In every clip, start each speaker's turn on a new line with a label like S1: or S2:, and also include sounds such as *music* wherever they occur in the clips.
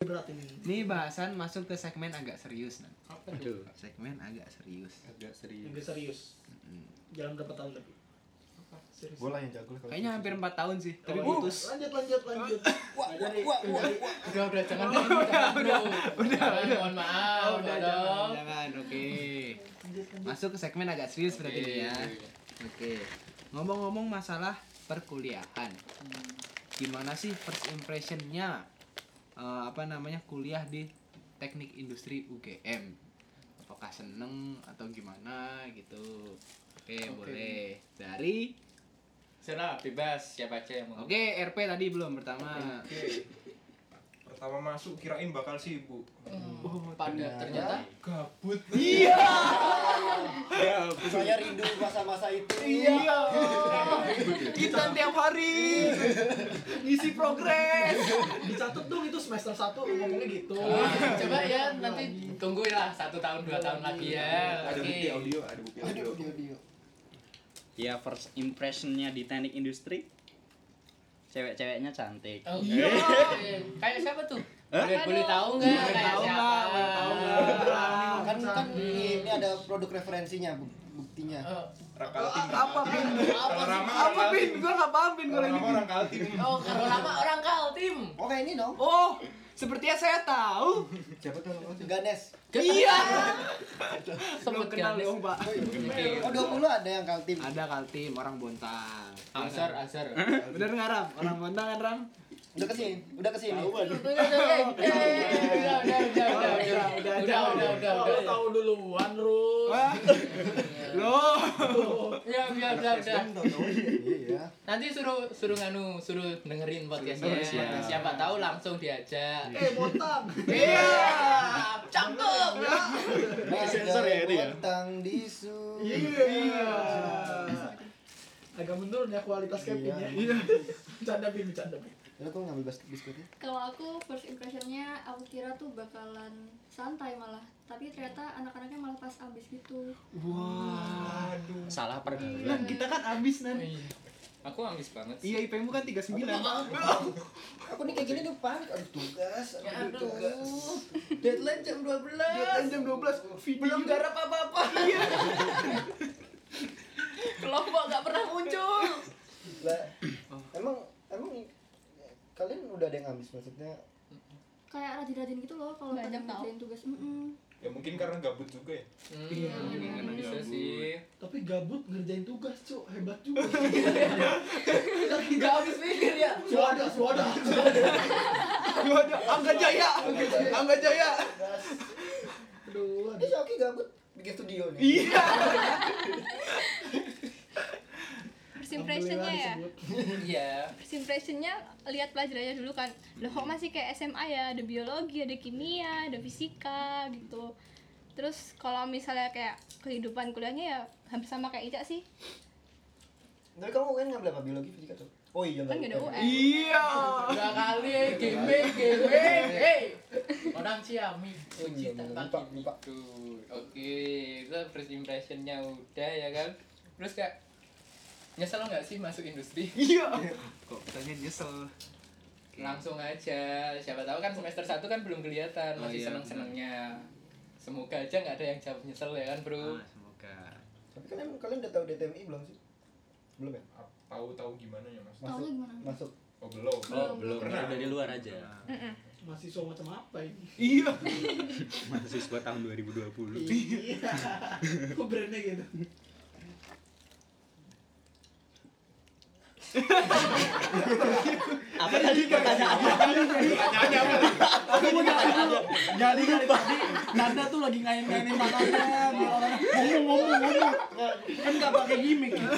S1: berat ini.
S2: Ini bahasan masuk ke segmen agak serius nah.
S1: Apa
S3: Aduh,
S1: tuh?
S2: Segmen agak serius. Hmm.
S3: agak serius.
S1: Yang serius. Jalan berapa tahun tapi? Apa? Serius.
S4: Gue lah yang jago lah kalau
S2: Kayaknya hampir 4 tahun sih, tapi
S1: Oh,
S2: putus.
S1: Lanjut lanjut lanjut. Wah,
S5: Udah udah
S1: *laughs*
S5: jangan dulu, jangan dulu. Jangan, mohon maaf,
S2: Ah, Udah,
S5: mohon
S2: jangan,
S5: maaf.
S2: jangan. Oke. Masuk ke segmen agak serius berarti ini ya. Oke. Ngomong-ngomong masalah perkuliahan. Gimana sih first impressionnya eh, apa namanya kuliah di Teknik Industri UGM? Apakah seneng atau gimana gitu? Oke,
S5: Oke.
S2: boleh. Dari
S5: Serap.
S3: Bebas siapa aja yang mau.
S2: Oke, RP tadi belum pertama.
S4: Oke. Pertama masuk kirain bakal sibuk.
S5: Pada ternyata
S4: Gabut.
S5: Iya.
S6: Saya rindu masa-masa itu.
S2: Iya. Kita tiap hari ngisi progres.
S1: Dicatat dong itu semester 1 ngomongnya gitu.
S5: Wah, coba ya nanti tungguin lah satu tahun dua tahun lagi ya.
S4: Ada bukti
S5: Oke.
S4: audio, ada bukti audio.
S6: Aduh, dia dia.
S3: Ya first impressionnya di teknik industri cewek-ceweknya cantik.
S5: Oh, Iya. Kayak siapa tuh? Boleh, boleh tahu nggak?
S6: iya,
S2: Boleh
S5: Kayak
S2: tahu
S5: siapa?
S2: nggak? Boleh tahu nggak?
S6: Kan kan
S5: Hmm.
S6: ini ada produk referensinya bu- buktinya.
S5: Oh,
S4: Rakalting.
S2: Apa pin?
S4: Kalau Rama
S2: Apa
S4: orang
S2: pin? Gua enggak paham pin
S4: Kalau
S2: kalau ini.
S4: Rama orang kaltim.
S5: Oh, kalau lama orang kaltim.
S6: Oh kayak ini dong.
S2: Oh, sepertinya saya tahu.
S4: Siapa tuh
S5: Oh,
S4: orang kaltim?
S6: Ganes.
S2: Iya.
S5: Sebut
S2: Belum kenal
S5: Ganes.
S2: dong, Pak.
S6: Oh 20 ada yang kaltim.
S2: Ada Kaltim, orang Bontang.
S6: Ah,
S2: Iya.
S5: Azar, Azar.
S2: Bener nggak Ram? Orang Bontang kan Ram?
S6: Udah kesini, udah kesini.
S5: Udah, udah, udah, udah, udah, udah, udah, udah, udah, udah, udah,
S1: Kalau
S5: udah.
S1: tahu duluan, Rus.
S2: Wah. Loh.
S5: Ya, ya, udah, udah.
S6: Iya.
S5: Nanti suruh suruh nganu, suruh dengerin podcastnya.
S3: Suruh, siap.
S5: Siapa tahu langsung
S1: *laughs*
S5: diajak.
S1: Eh, bontang.
S5: Iya, cakep.
S6: Ada
S3: sensor ya itu ya?
S6: Tentang disu.
S1: Iya. Agak menurun ya kualitas Kevin ya.
S6: Iya.
S1: Bercanda Pin, bercanda Pin.
S6: Lo kok ngambil bas- biskuitnya?
S7: Kalau aku first impressionnya aku kira tuh bakalan santai malah, tapi ternyata anak-anaknya malah pas abis gitu.
S2: Waduh.
S3: Salah
S2: Nah,
S3: pergaulan.
S2: kita kan abis nan.
S3: Aku ambis banget sih.
S2: Iya, IPM kan 39.
S6: Aku nih kayak gini tuh panik. Ah, Aduh tugas. Aduh tugas.
S5: Deadline jam 12.
S2: Jam 12 video.
S5: Belum garap apa-apa. Iya. Kelompok gak pernah muncul.
S6: Lah, emang emang kalian udah ada yang habis maksudnya
S7: Kayak rajin-rajin gitu loh kalau
S8: Banyak
S7: pengen
S8: tau.
S7: ngerjain tugas. Mm-mm.
S4: Ya mungkin karena gabut juga ya.
S5: Iya,
S3: Mungkin bisa sih.
S1: Tapi gabut ngerjain tugas, Cuk. Hebat juga.
S5: Gak habis pikir ya.
S1: Suada, suada.
S2: Waduh, Angga Jaya. Angga Jaya.
S1: Aduh,
S6: ini
S1: aduh.
S6: Shoki gabut bikin studio nih
S2: Iya.
S8: First impressionnya ya.
S1: Alhamdulillah disebut.
S5: Iya.
S8: First impressionnya lihat pelajarannya dulu kan. Loh kok masih kayak SMA ya? Ada biologi, ada kimia, ada fisika gitu. Terus kalau misalnya kayak kehidupan kuliahnya ya hampir sama kayak Ica sih.
S6: tapi kamu kan ngambil apa biologi fisika tuh oh iya
S8: Kan gak ada
S6: nggak.
S8: UN.
S2: Iya.
S5: Dua kali, game, game, hey. Orang Ciami,
S6: Oh, iya,
S5: uji
S2: Hmm,
S6: bener.
S5: tanpa
S6: lupa lupa
S3: Tuh, oke. Itu first impressionnya udah ya kan. Terus kayak
S5: Nyesel nggak sih masuk industri?
S2: Iya. Kok tanya nyesel.
S5: Langsung aja. Siapa tahu kan semester 1 kan belum kelihatan,
S2: Oh,
S5: masih
S2: iya,
S5: seneng-senengnya. Semoga aja nggak ada yang jawab nyesel ya kan, Bro.
S2: Ah, semoga.
S6: tapi kan emang kalian udah tahu DTMI belum sih belum ya
S4: Tahu-tahu gimana ya mas?
S7: Taunya gimana?
S6: masuk
S4: Oh belum.
S3: oh, belum
S4: Pernah.
S3: dari luar aja.
S8: Mm-mm.
S1: Mahasiswa macam apa ini?
S2: Iya.
S3: Mahasiswa tahun 2020.
S1: Iya. Kok brandnya gitu?
S3: Apa tadi pertanyaannya?
S6: jadi kan tadi Nanda tuh lagi ngain-ngainin matanya ngomong ngomong ngomong kan nggak pakai gimmick
S2: iya,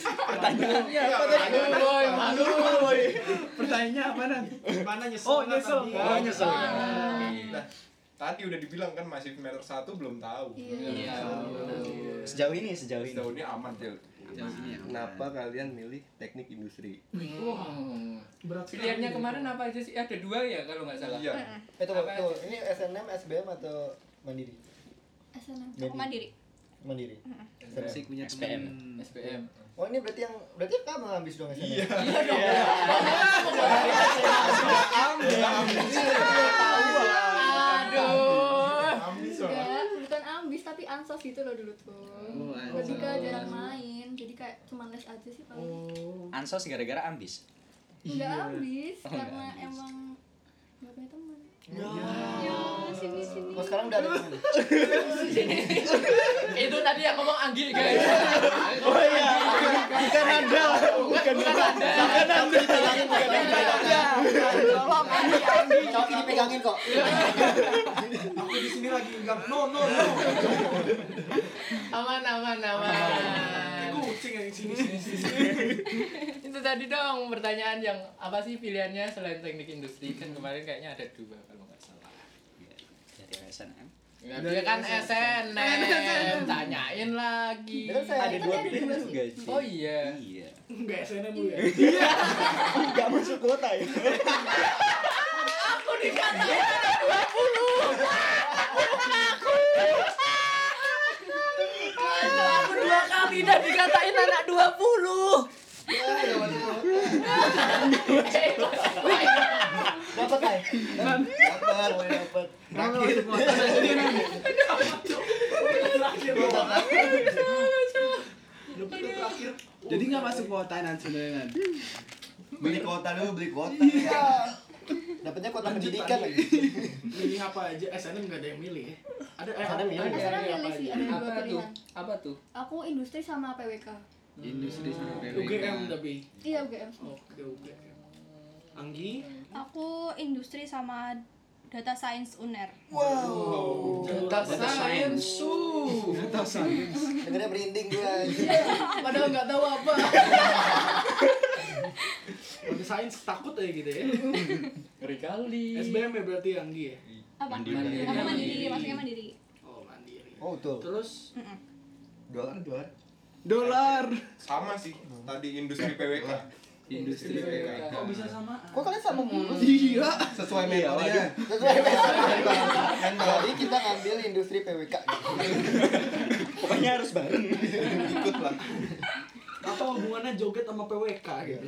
S5: Pertanyaannya
S4: Iya,
S5: apa tadi? Malu, boy, malu, boy.
S2: Pertanyaannya apa nan?
S1: Gimana nyesel?
S2: Oh,
S1: nggak
S2: nyesel.
S1: tadi?
S2: Oh, nyesel.
S5: Ah.
S4: Nah, tadi udah dibilang kan masih meter satu belum tahu. Iya.
S7: Iya.
S3: Sejauh ini, sejauh ini.
S4: Sejauh ini aman Jel.
S2: Kenapa?
S3: kalian milih teknik industri?
S5: Hmm.
S1: Berat sekali.
S5: Pilihannya kemarin apa aja sih? Ada dua ya kalau nggak salah.
S4: Iya.
S6: eh tunggu tunggu ini SNM SBM atau mandiri
S7: SNM.
S8: Aku mandiri.
S6: mandiri
S2: Musik punya
S3: SPM.
S5: Hmm.
S2: temen.
S5: SPM.
S6: oh ini berarti yang berarti kamu habis dong SNM
S5: Iya dong. Banyak banget.
S2: Ambil.
S7: pansos gitu loh dulu tuh
S2: Oh,
S7: lebih ke
S2: ansos.
S7: jarang main jadi kayak cuman les aja sih paling
S6: Oh.
S5: Ansos gara-gara ambis.
S7: nggak habis
S5: Oh, nggak
S7: karena
S5: habis.
S7: emang nggak punya teman
S8: Ya, sini sini.
S6: Kok Iya. Oh, sekarang udah ada teman?
S5: Itu tadi yang ngomong Anggi guys. Oh, iya.
S2: Bukan anda, bukan anda.
S6: Cowok ini pegangin kok.
S1: Aku di sini lagi enggak no no no.
S5: Aman aman aman.
S1: Kucing yang sini sini sini.
S5: Itu tadi dong pertanyaan yang apa sih pilihannya selain teknik industri kan kemarin kayaknya ada dua kalau nggak salah.
S6: Dari SNM.
S5: Ya, dia kan SNM, tanyain lagi.
S6: Ada
S7: Kan
S6: dua
S7: ada
S6: pilihan
S7: dua sih.
S6: juga sih.
S5: Oh iya.
S6: Iya.
S1: Enggak SNM lu ya.
S8: Iya.
S6: Enggak masuk kota ya.
S5: Aku dua kali dan dikatain anak *laughs* 20 Eh,
S6: Dapat lah. Dapat. Dapat.
S2: Terakhir, kota aja nanti.
S1: Terakhir lu.
S8: Iya,
S1: Lu terakhir.
S2: Jadi nggak masuk kota nanti sebenarnya. Nan.
S6: Beli kota dulu beli kota. Iya. Dapatnya kota pendidikan lagi.
S1: Milih apa aja? SNM enggak ada yang milih ya. Ada eh,
S6: SNM ya.
S1: ada
S7: Terserah
S1: yang
S7: milih
S1: apa
S7: sih
S1: aja.
S5: Apa
S7: ada dua
S5: tuh?
S7: pilihan
S5: Apa tuh?
S7: aku industri sama PWK
S2: Industri sama
S1: UGM
S2: PWK.
S1: tapi.
S7: iya UGM
S1: Oke UGM. Anggi,
S8: Aku industri sama data science UNER.
S6: Wow.
S5: Data science.
S2: Data science.
S6: Dengarnya merinding gue.
S5: Padahal nggak tahu apa.
S1: kalau sains takut aja gitu ya.
S5: Ngeri kali.
S1: SBM ya berarti Anggi ya.
S8: Apa?
S6: Mandiri.
S8: Aku mandiri, maksudnya mandiri.
S1: Oh mandiri.
S6: Oh tuh.
S1: Terus
S8: Mm-mm.
S6: Dolar dolar.
S2: Dolar.
S4: Sama sih, tadi industri PWK.
S2: Industri
S4: PWK.
S1: kok bisa samaan?
S6: Kok kalian sama mulu sih?
S2: Iya.
S4: Sesuai
S2: ya?
S4: metode.
S6: Sesuai Kan tadi kita ngambil industri PWK. Pokoknya harus bareng.
S4: Ikut lah.
S1: Apa hubungannya joget sama PWK gitu?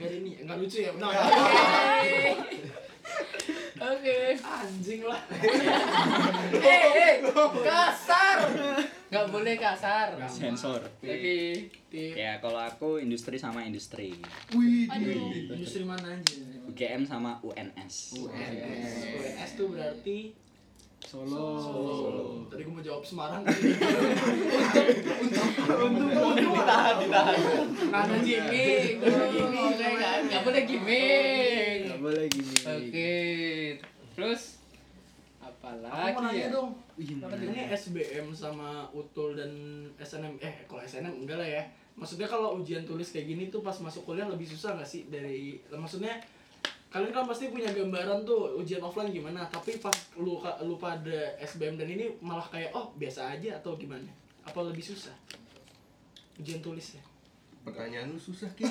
S1: Enggak ini, enggak lucu ya. Nah,
S5: Oke.
S1: anjing lah.
S5: Eh, eh, kasar. Nggak boleh kasar.
S9: sensor
S5: Oke.
S1: Tip.
S9: ya kalau aku industri sama industri
S8: Aduh.
S1: Industri mana aja?
S9: UGM sama UNS
S1: UNS. UNS tuh berarti
S2: Solo.
S1: Solo.
S6: Oh.
S1: Tadi gue mau jawab Semarang.
S6: Ditahan, ditahan.
S5: Mana Anu gimmick? Oke, nggak nggak boleh gimmick.
S2: Nggak boleh gini.
S5: Oke. Terus
S1: Aku mau nanya
S5: apalagi ya?
S1: dong. Ini SBM sama Utul dan SNM eh kalau SNM enggak lah ya. Maksudnya kalau ujian tulis kayak gini tuh pas masuk kuliah lebih susah nggak sih dari maksudnya kalian kan pasti punya gambaran tuh ujian offline gimana tapi pas lu lu pada SBM dan ini malah kayak oh biasa aja atau gimana apa lebih susah ujian tulis ya
S4: Pertanyaan lu susah, Ki.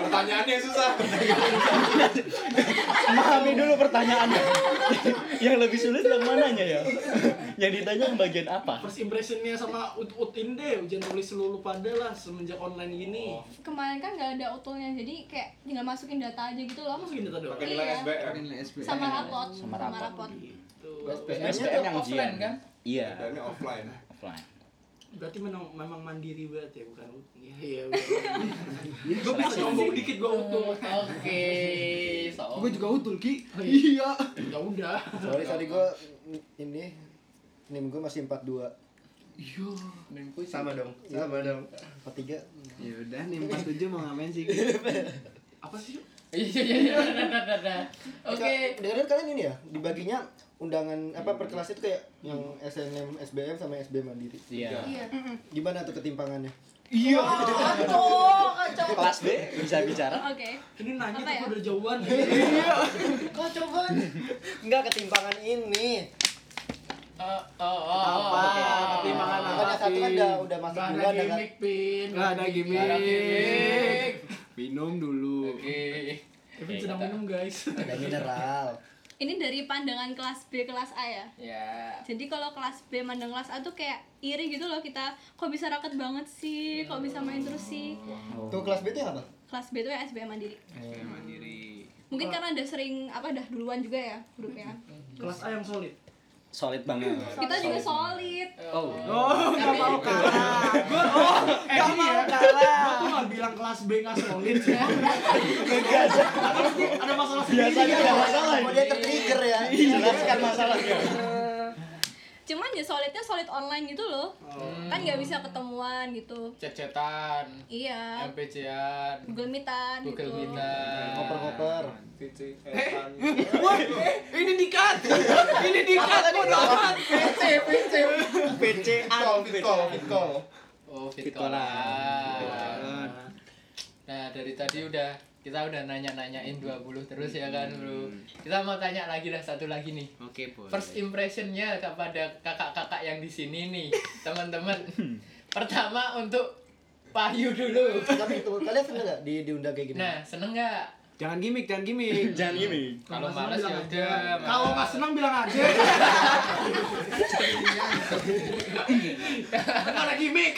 S4: Pertanyaannya susah.
S9: pahami dulu pertanyaannya *laughs* yang lebih sulit yang mananya ya *laughs* yang ditanya yang bagian apa
S1: first impressionnya sama ut ut ini deh ujian tulis lu, lu pada lah semenjak online gini
S8: Kemarin kan nggak ada utulnya, jadi kayak tinggal masukin data aja gitu loh.
S1: Terus gini tadi
S4: Pakai
S1: orang?
S4: nilai
S8: Iya.
S4: SBM.
S8: Sama
S1: Iya.
S8: rapot,
S9: Sama rapot.
S1: Tuh.
S9: SBM yang
S5: offline
S9: ujian
S5: kan?
S9: iya
S4: Ini offline.
S9: offline
S1: Berarti memang, memang mandiri banget ya, bukan ut- Iya, iya. *laughs* gue bisa sombong dikit gue
S5: Oh,
S1: utuh.
S5: Oke. So.
S2: Gue juga utul ki.
S1: Oh,
S2: Iya.
S1: Ya udah.
S6: Sorry, sorry gue ini nim gue masih 42.
S9: Iya.
S2: Sama dong. Sama dong.
S6: 43.
S2: Ya udah nih 47 mau ngapain sih? Ki?
S1: Apa sih? Yuk?
S5: Iya iya iya. Dah, dah, dah, dah. Oke.
S6: Dengerin kalian ini ya, dibaginya undangan apa per kelas itu kayak yang SNM, SBM sama SB Mandiri.
S9: iya
S7: iya
S6: Gimana tuh ketimpangannya?
S9: kelas B bisa bicara
S8: Oke.
S1: Ini nanya tuh
S8: Apa ya?
S1: udah jauhan.
S6: Enggak ketimpangan ini.
S5: Eh, oh, oh, oh,
S2: Apa?
S5: oke.
S2: Pertimbangan
S6: Kan yang satu kan udah udah masuk
S1: Gak ada
S6: duluan ya kan.
S1: gimmick, Pin.
S2: Nggak ada
S5: Nggak ada
S2: gimmick.
S5: gimmick.
S2: Minum dulu.
S5: Oke.
S1: Kevin sedang minum, guys.
S6: Ada mineral.
S8: Ini dari pandangan kelas B kelas A ya.
S5: Ya.
S8: Jadi kalau kelas B mandang kelas A tuh kayak iri gitu loh kita. Kok bisa raket banget sih? Kok bisa main terus sih?
S9: Oh.
S6: Tuh kelas B itu yang apa?
S8: Kelas B tuh ya SBM mandiri.
S2: Saya mandiri.
S8: Mungkin karena udah sering apa dah duluan juga ya grupnya.
S1: Kelas A yang solid.
S9: solid banget.
S8: Kita juga solid.
S9: Oh.
S2: Oh, nggak mau kalah. Gua oh, nggak mau
S1: Gua tuh
S2: kalah.
S1: nggak bilang kelas B nggak solid sih. Ada masalah sendiri. gitu.
S9: Biasanya ada Iya, masalah. Iya, kan
S6: Mau dia tertrigger ya.
S9: Jelaskan masalahnya.
S7: Iya.
S8: Cuman ya solidnya solid online gitu loh. Kan
S7: Hmm.
S8: nggak bisa ketemuan gitu.
S5: Cecetan,
S8: Iya.
S5: MPC-an,
S8: Google Meetan gitu.
S5: Google Meet-an.
S6: Ngoper-ngoper.
S4: Cici,
S2: Ini dikat. Ini dikat. Bodo amat.
S9: PC
S4: Call, fit call, fit call.
S5: Oh,
S9: Fitolan.
S5: Fitolan. Nah, dari tadi udah kita udah nanya-nanyain 20 terus ya kan, Bro. Kita mau tanya lagi dah satu lagi nih.
S2: Oke, boleh.
S5: First impressionnya kepada kakak-kakak yang di sini nih, teman-teman. Pertama untuk Payu dulu.
S6: Tapi itu kalian seneng nggak di diundang kayak gini?
S5: Nah, seneng nggak?
S2: Jangan gimmick, jangan
S9: *laughs*
S2: gimmick.
S9: *laughs* Jangan gini.
S5: Kalau malas ya udah. malas.
S1: Kalau nggak senang bilang aja. Nggak ada gimmick.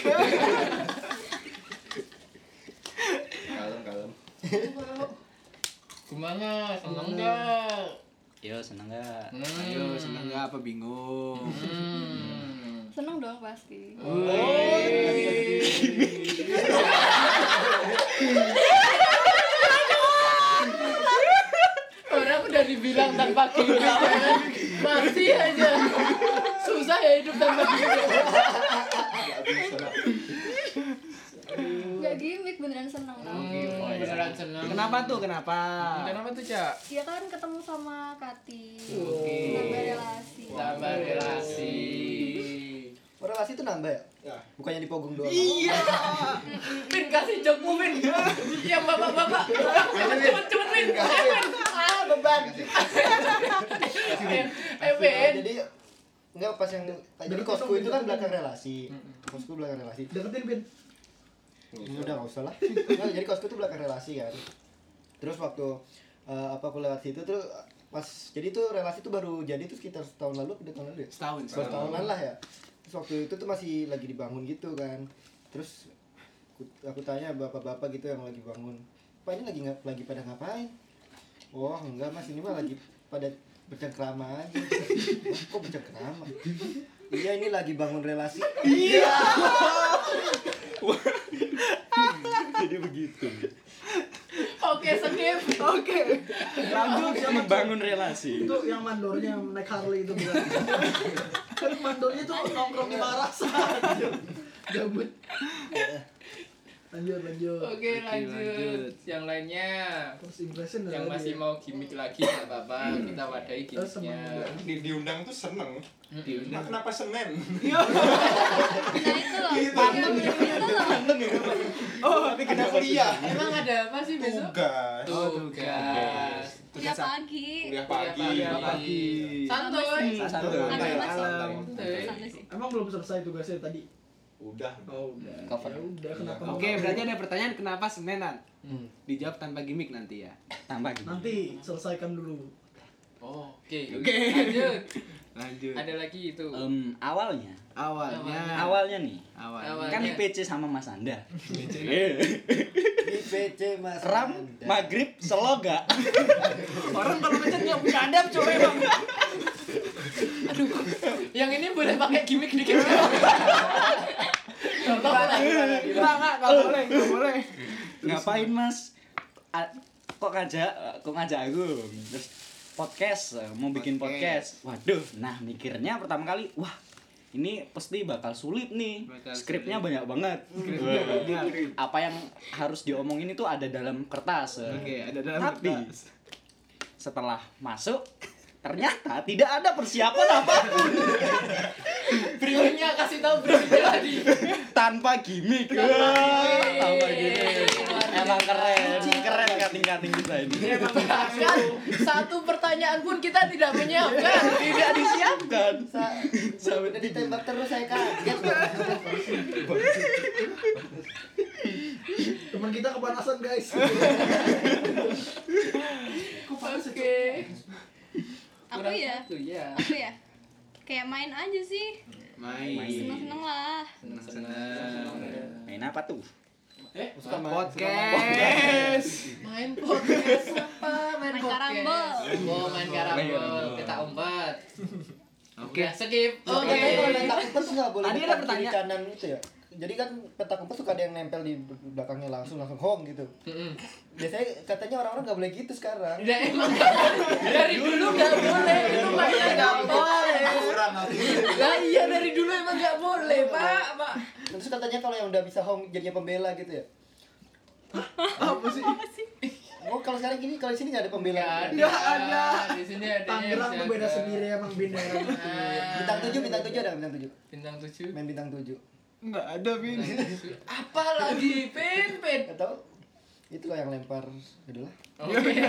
S4: Kalem, kalem.
S5: gimana? Seneng nggak?
S9: Yo seneng gak?
S2: Ayo, seneng nggak apa bingung?
S5: Hmm.
S7: Seneng dong pasti.
S1: Oh, iya.
S5: Orang udah dibilang tanpa gimmick ya kan? Masih aja Susah ya hidup tanpa gimmick
S7: Gak gimmick beneran seneng tau.
S5: Hmm, Beneran seneng
S2: Kenapa tuh? Kenapa?
S5: Kenapa tuh Cak?
S7: Ya kan ketemu sama Kati.
S5: Oke.
S7: Nambah relasi.
S5: Tambah relasi
S6: Relasi itu nambah ya?
S4: Ya.
S6: Bukannya di pogong doang.
S5: Iya
S6: *laughs*
S5: Min kasih jokmu Min Iya bapak-bapak Cepet cepet cepet Min Ayo Min
S6: Ah, beban.
S5: Ayo Min
S6: Jadi Enggak pas yang jadi kosku itu kan Iya. belakang relasi. Kosku belakang relasi.
S1: Deketin pin.
S6: Ya udah nggak usah lah. Nggak, jadi kosku tuh belakang relasi kan. Terus waktu eh, apa aku lewat situ tuh pas jadi tuh relasi tuh baru jadi tuh sekitar setahun lalu atau tahun lalu ya?
S2: Setahun.
S6: Setahun tahunan lah ya. Terus waktu itu tuh masih lagi dibangun gitu kan. Terus aku, aku tanya bapak-bapak gitu yang lagi bangun. Pak ini lagi nggak lagi pada ngapain? Oh enggak mas ini mah lagi pada bercengkrama aja. *laughs* Kok bercengkrama? Iya ini lagi bangun relasi.
S9: Jadi begitu.
S5: Oke skip
S7: Oh.
S1: Oke. Lanjut siapa?
S9: Membangun relasi.
S1: Itu yang mandornya yang naik Harley itu bukan. Kan mandornya tuh nongkrong di Barasa. Gabut. Lanjut lanjut.
S5: Oke lanjut
S2: lanjut.
S5: Yang lainnya
S1: First impression ya.
S5: yang
S1: dari-
S5: masih mau gimmick lagi nggak apa-apa kita wadahi
S1: Oh,
S5: gimmicknya
S1: semangat.
S4: Di, diundang tuh seneng.
S5: Mm-mm.
S4: Nah, kenapa senen?
S8: Nah itu loh.
S4: Gitu.
S8: Iya, bener-bener itu loh.
S4: Oh, tapi kenapa kuliah?
S5: emang ada apa sih *laughs* besok
S4: Tugas.
S5: tugas
S8: Kuliah pagi.
S4: Kuliah pagi.
S5: Kuliah pagi. santuy
S4: Santai,
S8: Agak
S4: santai.
S5: santuy
S8: Santai sih.
S1: Emang belum selesai tugasnya tadi.
S4: Udah.
S1: Oh, udah.
S9: Cover.
S1: Ya udah kenapa?
S2: Oke, berarti ada pertanyaan kenapa Senenan?
S5: Hmm.
S2: Dijawab tanpa gimmick nanti ya.
S9: Tambah gitu. gini.
S1: Nanti selesaikan dulu.
S5: oke lanjut
S2: Lanjut.
S5: ada lagi itu
S9: Em, awalnya,
S2: Awalnya.
S9: awalnya nih,
S2: Awal.
S5: Awalnya.
S9: kan di PC sama Mas Anda. Iya.
S6: Di PC mas.
S9: Ram,
S6: Anda.
S9: maghrib, seloga.
S2: Orang kalau ngechat nggak punya adab coba emang.
S5: yang ini boleh pakai gimmick dikit Contoh lah.
S2: Enggak, enggak, enggak boleh, enggak boleh.
S9: Ngapain Mas? A- kok ngajak, kok ngajak aku? Terus podcast, eh, mau bikin podcast. Waduh, nah mikirnya pertama kali, wah ini pasti bakal sulit nih.
S2: Bakal
S9: Skripnya
S2: sulit.
S9: banyak banget.
S2: Skripnya
S9: Wah.
S2: banyak.
S9: Apa yang harus diomongin itu ada dalam kertas. eh.
S2: Oke, ada dalam
S9: Tapi,
S2: kertas.
S9: setelah masuk ternyata tidak ada persiapan apa
S5: Briefingnya kasih tahu briefingnya tadi.
S9: tanpa gimmick
S5: gimmick.
S8: Iya,
S9: tanpa gimmick emang keren keren kating kating kita ini
S5: Bahkan satu pertanyaan pun kita tidak menyiapkan.
S9: tidak disiapkan
S6: Sa- bener-bener ditembak terus saya kaget
S1: Teman kita kepanasan, guys. Kok panas ya, Cok?
S5: Oke.
S8: Aku
S5: Kurang
S8: ya.
S5: satu, ya.
S8: Aku ya. Kayak main aja sih.
S2: Main.
S8: Seneng-seneng lah.
S2: Senang-senang.
S9: main apa tuh
S6: suka
S2: Podcast.
S5: Main podcast apa? Main
S8: Main
S5: podcast.
S8: karambol.
S5: Oh, main karambol. Kita umpet.
S2: Oke.
S5: Udah, skip.
S6: Ya,
S5: Oke.
S6: katanya kalau peta kumpet nggak boleh
S9: Tadi ada
S6: depan, kiri,
S9: pertanyaan.
S6: kanan itu ya. Jadi kan peta kumpet suka ada yang nempel di belakangnya langsung langsung hong gitu.
S5: Mm-mm.
S6: Biasanya katanya orang-orang nggak boleh gitu sekarang.
S5: Udah, emang dari dulu nggak boleh itu makanya nggak boleh.
S4: Kurang aku.
S5: Lah iya dari dulu emang nggak boleh pak pak.
S6: Terus katanya kalau yang udah bisa hong jadinya pembela gitu ya.
S2: Apa sih?
S6: Oh kalau sekarang gini kalau di sini nggak ada pembela.
S5: Nggak Ya ada. Di sini ada. Ah,
S1: Tangerang tuh beda sendiri emang bintang.
S6: Bintang tujuh bintang tujuh ada nggak bintang tujuh.
S5: Bintang tujuh.
S6: Main bintang tujuh.
S2: Enggak ada, Bin.
S5: Apa lagi pimpin?
S6: Atau itu loh yang lempar adalah
S5: Oke.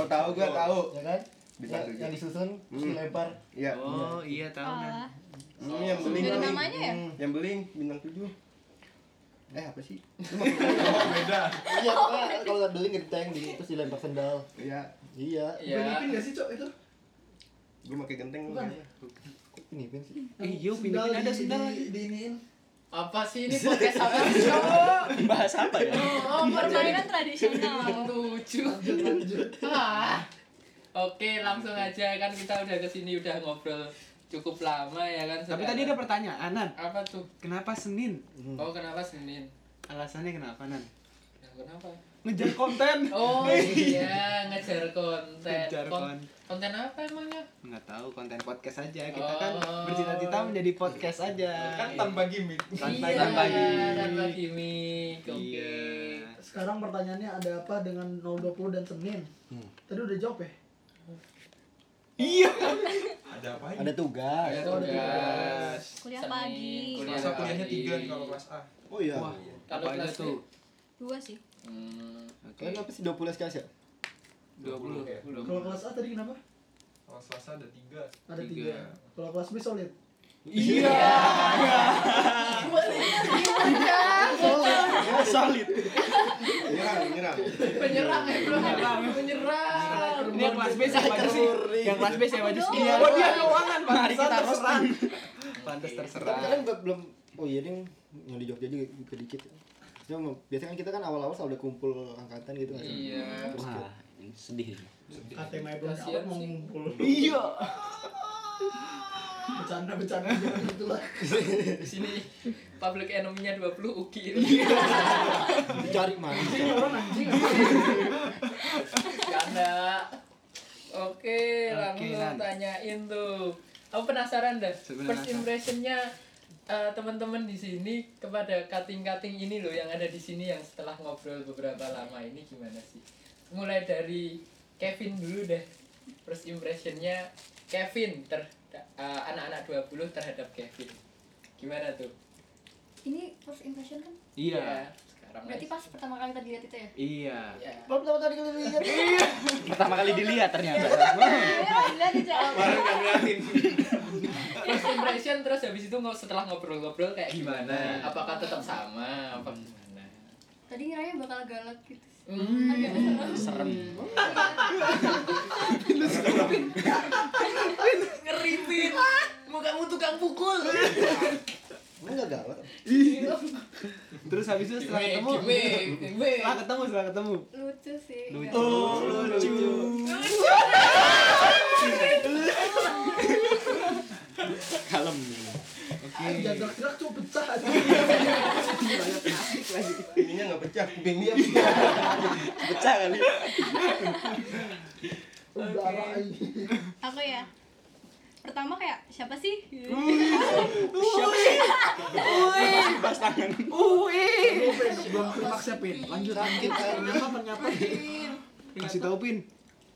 S4: Oh tahu gua tahu.
S6: ya kan?
S4: Bintang
S6: Yang-
S4: tujuh.
S6: yang disusun terus dilempar.
S4: Iya.
S2: Oh, iya tahu kan.
S5: Ah.
S8: Alah,
S4: Hmm, yang beling.
S8: dari
S4: beling.
S8: namanya ya?
S6: Hmm.
S4: Yang beling bintang 7.
S6: Eh apa sih?
S4: Beda.
S6: ya? Iya pokoknya kalau nggak beli genteng di terus dilempar sendal.
S4: Iya.
S6: Iya.
S5: Ya.
S1: Filipin gak sih cok itu?
S4: Gua pakai genteng lu.
S1: Bukan. ya?
S6: Kok ini Vin, sih?
S2: Eh, iya, Bin Bin ada sendal lagi.
S1: Diinin.
S5: Apa sih ini podcast apa sih cowok?
S9: Bahas apa ya?
S5: Oh, permainan
S8: permainan kan tradisional.
S5: tujuh.
S1: Lanjut.
S5: Ah. Oke, langsung aja kan kita udah kesini udah ngobrol cukup lama ya kan.
S2: Tapi
S5: saudara.
S2: tadi ada pertanyaan, Nan.
S5: apa tuh?
S2: Kenapa Senin?
S5: Oh, kenapa Senin?
S2: Alasannya kenapa, Nan?
S5: Ya, kenapa?
S2: Ngejar konten.
S5: Oh iya, ngejar konten.
S2: Ngejar
S5: Kon-
S2: konten.
S5: konten apa emangnya?
S2: Nggak tahu konten podcast aja. Kita kan
S5: Oh.
S2: bercita-cita menjadi podcast aja. Iya.
S4: Kan tanpa gimmick.
S2: Tanpa
S5: iya,
S2: tanpa gimmick.
S5: tanpa gimmick. Oke.
S2: Iya.
S1: Sekarang pertanyaannya ada apa dengan 020 dan Senin?
S9: Hmm.
S1: Tadi udah jawab ya?
S4: Ada apa
S6: Ada tugas.
S2: Iya,
S5: Ada tugas.
S8: Kuliah
S5: Senin,
S8: pagi.
S5: kuliah
S4: Masa kuliahnya
S5: pagi.
S4: 3 nih kalau Mas A.
S6: Oh iya.
S2: Wah,
S5: Kalau
S2: apa aja
S5: kelas
S2: tuh?
S8: Dua sih.
S5: Hmm.
S2: Oke.
S6: Kalian apa sih 20 SKS ya?
S2: 20 ya.
S1: Kalau kelas A tadi kenapa?
S4: Kalau Selasa ada 3.
S1: Ada
S2: Tiga.
S1: tiga. Kalau kelas B solid.
S6: Iya.
S9: Solid.
S4: Nyerang, nyerang.
S5: Penyerang ya, bro. Penyerang.
S2: Iya. Ini yang kelas B siapa aja sih? Yang kelas B siapa aja sih?
S7: Iya.
S2: Oh, dia
S5: Iya.
S2: doangan,
S9: Mari kita roasting.
S2: Pantes
S6: Tapi
S2: terserah.
S6: kalian be- belum oh iya ding yang di Jogja juga juga dikit. Cuma biasanya kan kita kan awal-awal selalu udah kumpul angkatan gitu kan.
S5: Iya.
S6: Terus kayak,
S9: Wah, ini sedih.
S1: KTM belum
S5: Kasian
S1: dapat mau
S5: sih.
S1: ngumpul. *laughs*
S9: Iya.
S1: Bercanda-bercanda gitu lah.
S5: Di sini public enemy-nya 20 Uki.
S2: Iya.
S6: dicari mana?
S1: Ini orang anjing.
S5: Canda. Oke,
S2: Oke, Nan.
S5: langsung tanyain tuh. Aku penasaran dah.
S2: Sebenarnya
S5: First
S2: apa?
S5: impression-nya eh, teman-teman di sini kepada kating-kating ini loh yang ada di sini yang setelah ngobrol beberapa lama ini gimana sih? Mulai dari Kevin dulu deh. First impression-nya Kevin ter eh, anak-anak 20 terhadap Kevin. Gimana tuh?
S7: Ini first impression kan?
S5: Ya,
S2: Iya.
S5: sekarang
S7: Berarti
S5: guys.
S7: pas pertama kali tadi lihat itu ya?
S2: Iya.
S5: Ya.
S6: Belum pertama kali kalian lihat.
S9: Pertama kali dilihat ternyata.
S8: Alhamdulillah dijawab.
S4: Baru enggak ngeliatin.
S5: First impression terus habis itu ngo- setelah ngobrol-ngobrol kayak gimana?
S2: Gimana?
S5: Apakah tetap sama?
S9: Hmm.
S5: Apa gimana?
S7: Tadi ngiranya bakal galak gitu.
S5: Hmm.
S7: Agak serem.
S9: Serem.
S5: Ngeripin. Mukamu tukang pukul.
S6: Emang enggak galak.
S2: Terus habis itu setelah ketemu, setelah ketemu, setelah ketemu.
S7: Lucu sih.
S2: Lucu. Oh,
S7: galak.
S2: lucu.
S9: Kalem.
S2: Oke.
S1: Jangan gerak cuma pecah aja.
S4: Ininya enggak pecah, kuping
S6: *laughs*
S4: dia pecah.
S9: Pecah kali.
S1: Darah
S8: Aku ya. Pertama kayak siapa sih?
S9: Pas tangan.
S1: Belum klimaksnya pin. Lanjut.
S6: Sakit kan.
S1: Ternyata ternyata.
S2: Kasih tahu Pin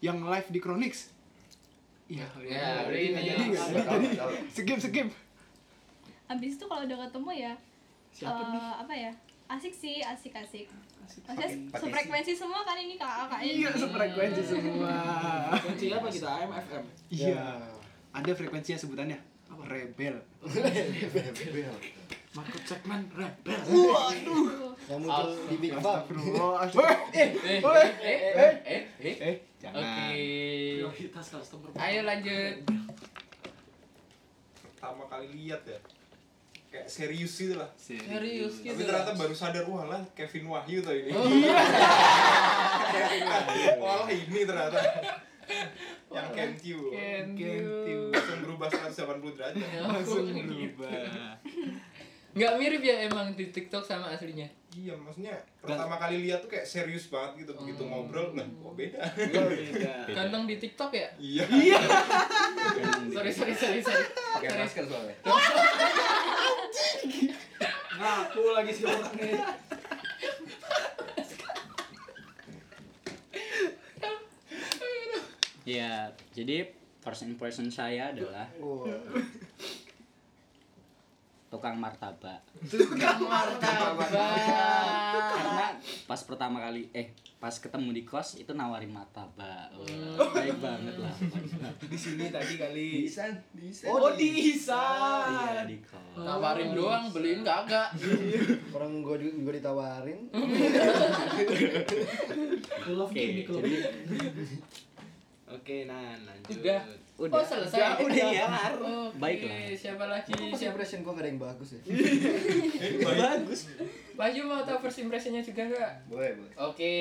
S2: yang live di Chronix. Iya.
S5: Ya,
S2: Jadi
S5: hari
S2: nggak
S5: ini.
S2: jadi nggak
S4: Nggak tahu,
S2: jadi.
S4: nggak tahu.
S2: Skip skip.
S8: Habis itu kalau udah ketemu ya
S1: Siapa
S8: eh,
S1: nih?
S8: apa ya? Asik sih, asik-asik. Maksudnya
S4: Pakai- pakai
S8: sefrekuensi semua kan ini kakak-kakak ini.
S2: Iya, sefrekuensi semua.
S1: Kunci apa kita? AM, FM.
S2: Iya. Ada frekuensinya sebutannya. Rebel.
S1: Market segmen rebel.
S6: Yang muncul di Big Bang.
S2: Astagfirullah.
S5: Eh, eh, eh, eh.
S2: *laughs* Eh,
S5: Oke.
S2: jangan.
S1: Prioritas customer.
S5: Iya. Ayo lanjut.
S4: Pertama kali lihat ya. Kayak serius gitu lah.
S5: Serius gitu. Oh.
S4: Tapi ternyata baru sadar wah lah Kevin Wahyu tuh *laughs* ini. Wah lah ini ternyata. Yang Kentiu.
S5: Can
S2: Can
S5: you-
S2: you-
S4: Langsung berubah berubah 180 derajat.
S5: Iya.
S2: langsung berubah
S5: nggak mirip ya emang di TikTok sama aslinya
S4: Iya, maksudnya pertama kali lihat tuh kayak serius banget gitu, begitu ngobrol, nah kok beda.
S9: Iya.
S5: ganteng di TikTok ya
S4: Iya.
S9: Iya.
S5: sorry sorry sorry sorry
S9: *laughs*
S3: pakai masker soalnya
S1: Ngaku lagi si orang ini.
S9: Ya, jadi first impression saya adalah
S6: Wah,
S9: tukang martabak.
S5: martabak
S9: Karena pas pertama kali eh pas ketemu di kos itu nawarin martabak. Wah, baik banget lah.
S2: di sini tadi kali
S4: Isan, Isan.
S1: Oh, di Isan.
S9: Iya, di kos.
S5: nawarin doang beliin kagak
S6: orang gue gue ditawarin
S1: I love
S9: Oke,
S1: you, Nicole.
S9: jadi
S2: oke nah lanjut
S5: Udah. oh
S9: udah.
S5: selesai
S9: udah ya.
S5: Oke,
S9: Baiklah.
S5: siapa lagi
S6: first
S5: siapa
S6: impression gue gak ada yang bagus ya
S9: Bagus.
S5: Wahyu mau tahu first impressionnya juga nggak
S6: boleh boleh
S5: oke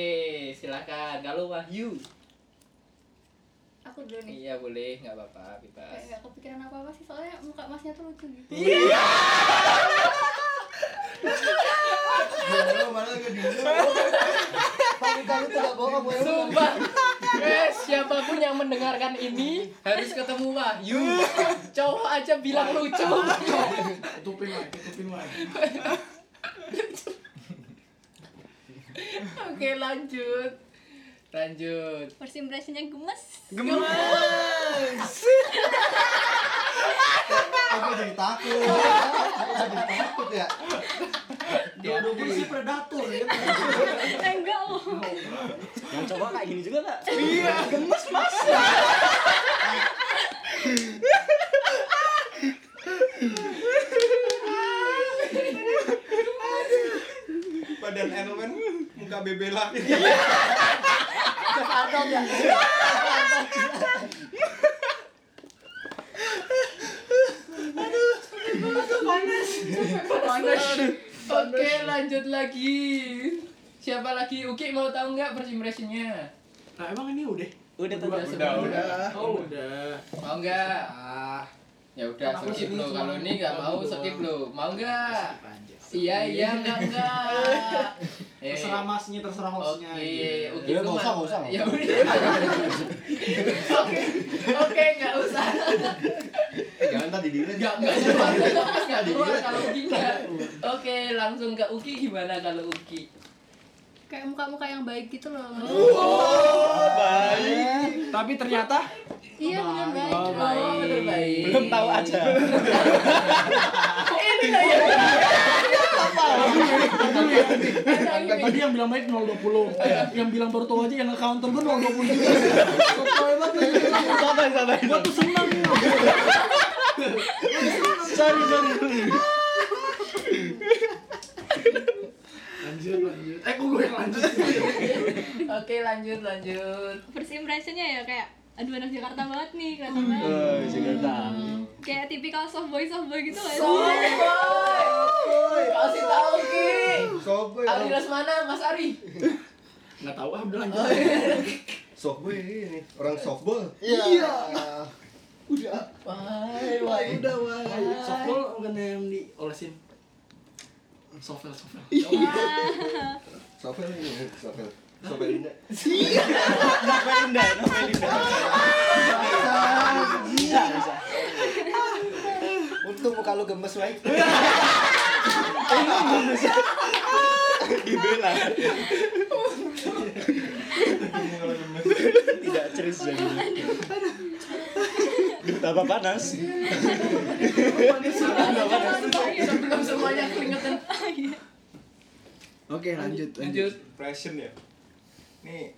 S5: silakan kalau Wahyu
S7: Aku dulu nih.
S5: iya boleh nggak apa-apa
S7: Kayak
S5: bebas
S7: nggak kepikiran apa-apa sih, soalnya muka masnya tuh lucu gitu.
S6: malah Iya, malah gue dulu tapi kamu tidak bohong gue
S5: Sumpah, guys, siapapun yang mendengarkan ini harus ketemu Wahyu. Cowok aja bilang lucu.
S1: Tutupin wae, tutupin wae.
S5: Oke, lanjut. Lanjut.
S8: First impressionnya gemes.
S6: aku jadi takut aku jadi takut ya
S1: Jodoh gue sih predator ya.
S8: Enggak loh.
S9: Yang coba kayak gini juga enggak?
S4: Badan Elman muka bebe lagi.
S5: Oke, lanjut lagi. Siapa lagi? Uki mau tahu nggak first impressionnya?
S1: Nah, emang ini udah.
S9: Udah tuh.
S5: Udah, udah,
S1: Oh, udah.
S5: Mau nggak?
S1: Ah,
S5: Ya udah,
S1: Aku
S5: skip
S1: sini
S5: lo.
S1: cuma
S5: Kalau ini nggak mau,
S1: doang.
S5: skip lo. Mau nggak?
S1: panjang.
S5: Iya, iya, nggak, nggak. *laughs* Eh,
S1: Terserah masnya, terserah hostnya. gitu.
S6: Ya,
S5: Oke, oke,
S6: nggak
S5: lu
S6: usah,
S5: mah-
S6: nggak usah.
S5: gitu. Ya udah. Oke, oke, nggak usah.
S6: Eh, jangan tadi diri
S5: Nggak, nggak keluar, nggak keluar kalau Uki nggak. Oke, langsung ke Uki gimana kalau Uki?
S7: Kayak muka-muka yang baik gitu loh.
S2: tapi ternyata
S7: Iya, bener baik.
S5: Oh, bener baik.
S9: Belum tahu aja.
S5: Ini lah ya. Ada yang
S1: Tadi yang bilang baik 020. yang bilang baru tahu aja yang nge-counter gue 020 juga. Sotoy banget.
S9: Sabar, sabar.
S1: Gua tuh seneng.
S9: Sorry, sorry.
S1: Lanjut, lanjut. Eh, kok gue yang *laughs* lanjut?
S5: Oke, lanjut, lanjut.
S8: First impressionnya ya kayak aduh anak Jakarta banget nih kelihatan banget.
S9: Eh, Jakarta.
S8: Kayak tipikal soft boy soft boy gitu lah.
S5: Soboy. Kasih tahu Ki.
S6: Eh, soboy
S5: Ari Lesmana, Mas Ari.
S1: Enggak tahu ah, udah lanjut.
S6: soboy ini orang softball iya udah
S5: Wah, wah.
S1: Udah, wah. Softball bukan yang diolesin. Softball, softball.
S8: Wah.
S6: softball ini softball softball ini
S9: Novelinda,
S4: Iya.
S9: Novelinda. Bisa, bisa.
S6: untung muka lu gemes wae
S9: Dibela. Tidak ceris jadi. Betapa panas.
S5: Sebelum semuanya keringetan.
S2: oke lanjut
S5: Lanjut.
S4: Impression ya. Nih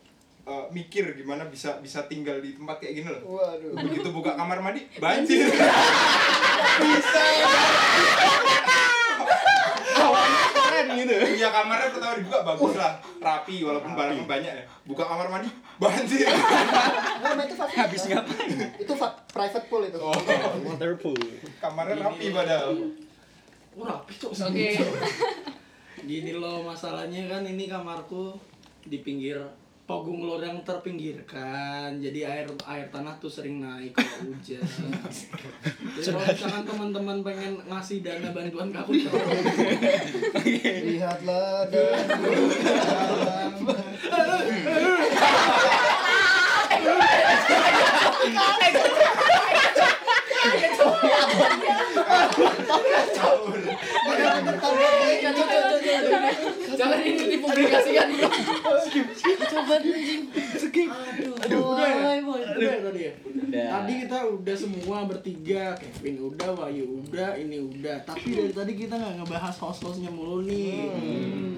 S4: eh, mikir gimana bisa bisa tinggal di tempat kayak gini loh.
S6: waduh
S4: Begitu buka kamar mandi,
S9: *laughs*
S4: banjir.
S9: Keren gitu.
S4: Iya kamarnya pertama dibuka bagus lah, rapi walaupun barangnya banyak ya. Buka kamar mandi, banjir.
S6: Nah, itu fak-
S9: Habis ngapain?
S6: itu fak- private pool itu
S4: Oh,
S9: Waterpool.
S4: kamarnya rapi padahal.
S1: Oh, rapi tuh.
S5: Oke.
S1: *laughs* Gini loh masalahnya kan ini kamarku di pinggir Pogong lorang terpinggirkan, jadi air air tanah tuh sering naik kalau hujan. jadi kalau misalkan teman-teman pengen ngasih dana bantuan ke aku,
S6: Lihatlah dan beritahulah.
S5: Jangan ini dipublikasikan dulu.
S1: udah tadi ya.
S9: Udah.
S1: Tadi kita udah semua bertiga, Kevin udah, Wahyu udah, ini udah. Tapi dari tadi kita nggak ngebahas host-hostnya mulu nih.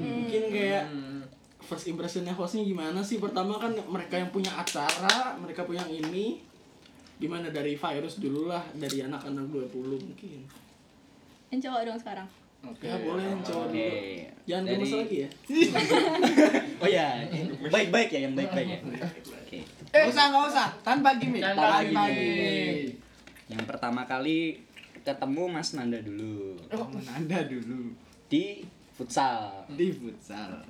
S1: Mungkin kayak first impressionnya hostnya gimana sih? Pertama kan mereka yang punya acara, mereka punya ini. Gimana dari virus dulu lah, dari anak-anak 20 mungkin.
S8: Yang cowok dong sekarang.
S1: Oke, ya, boleh yang cowok dulu. Jangan
S9: Dari-
S1: gemes lagi ya.
S9: Oh ya, baik-baik ya yang baik-baik ya. Oke.
S2: Nggak usah, nggak usah. Tanpa gimmick.
S5: Dan
S9: Tanpa
S5: pagi.
S9: gimmick. Yang pertama kali ketemu Mas Nanda dulu
S2: Menanda dulu
S9: di futsal.
S2: di futsal.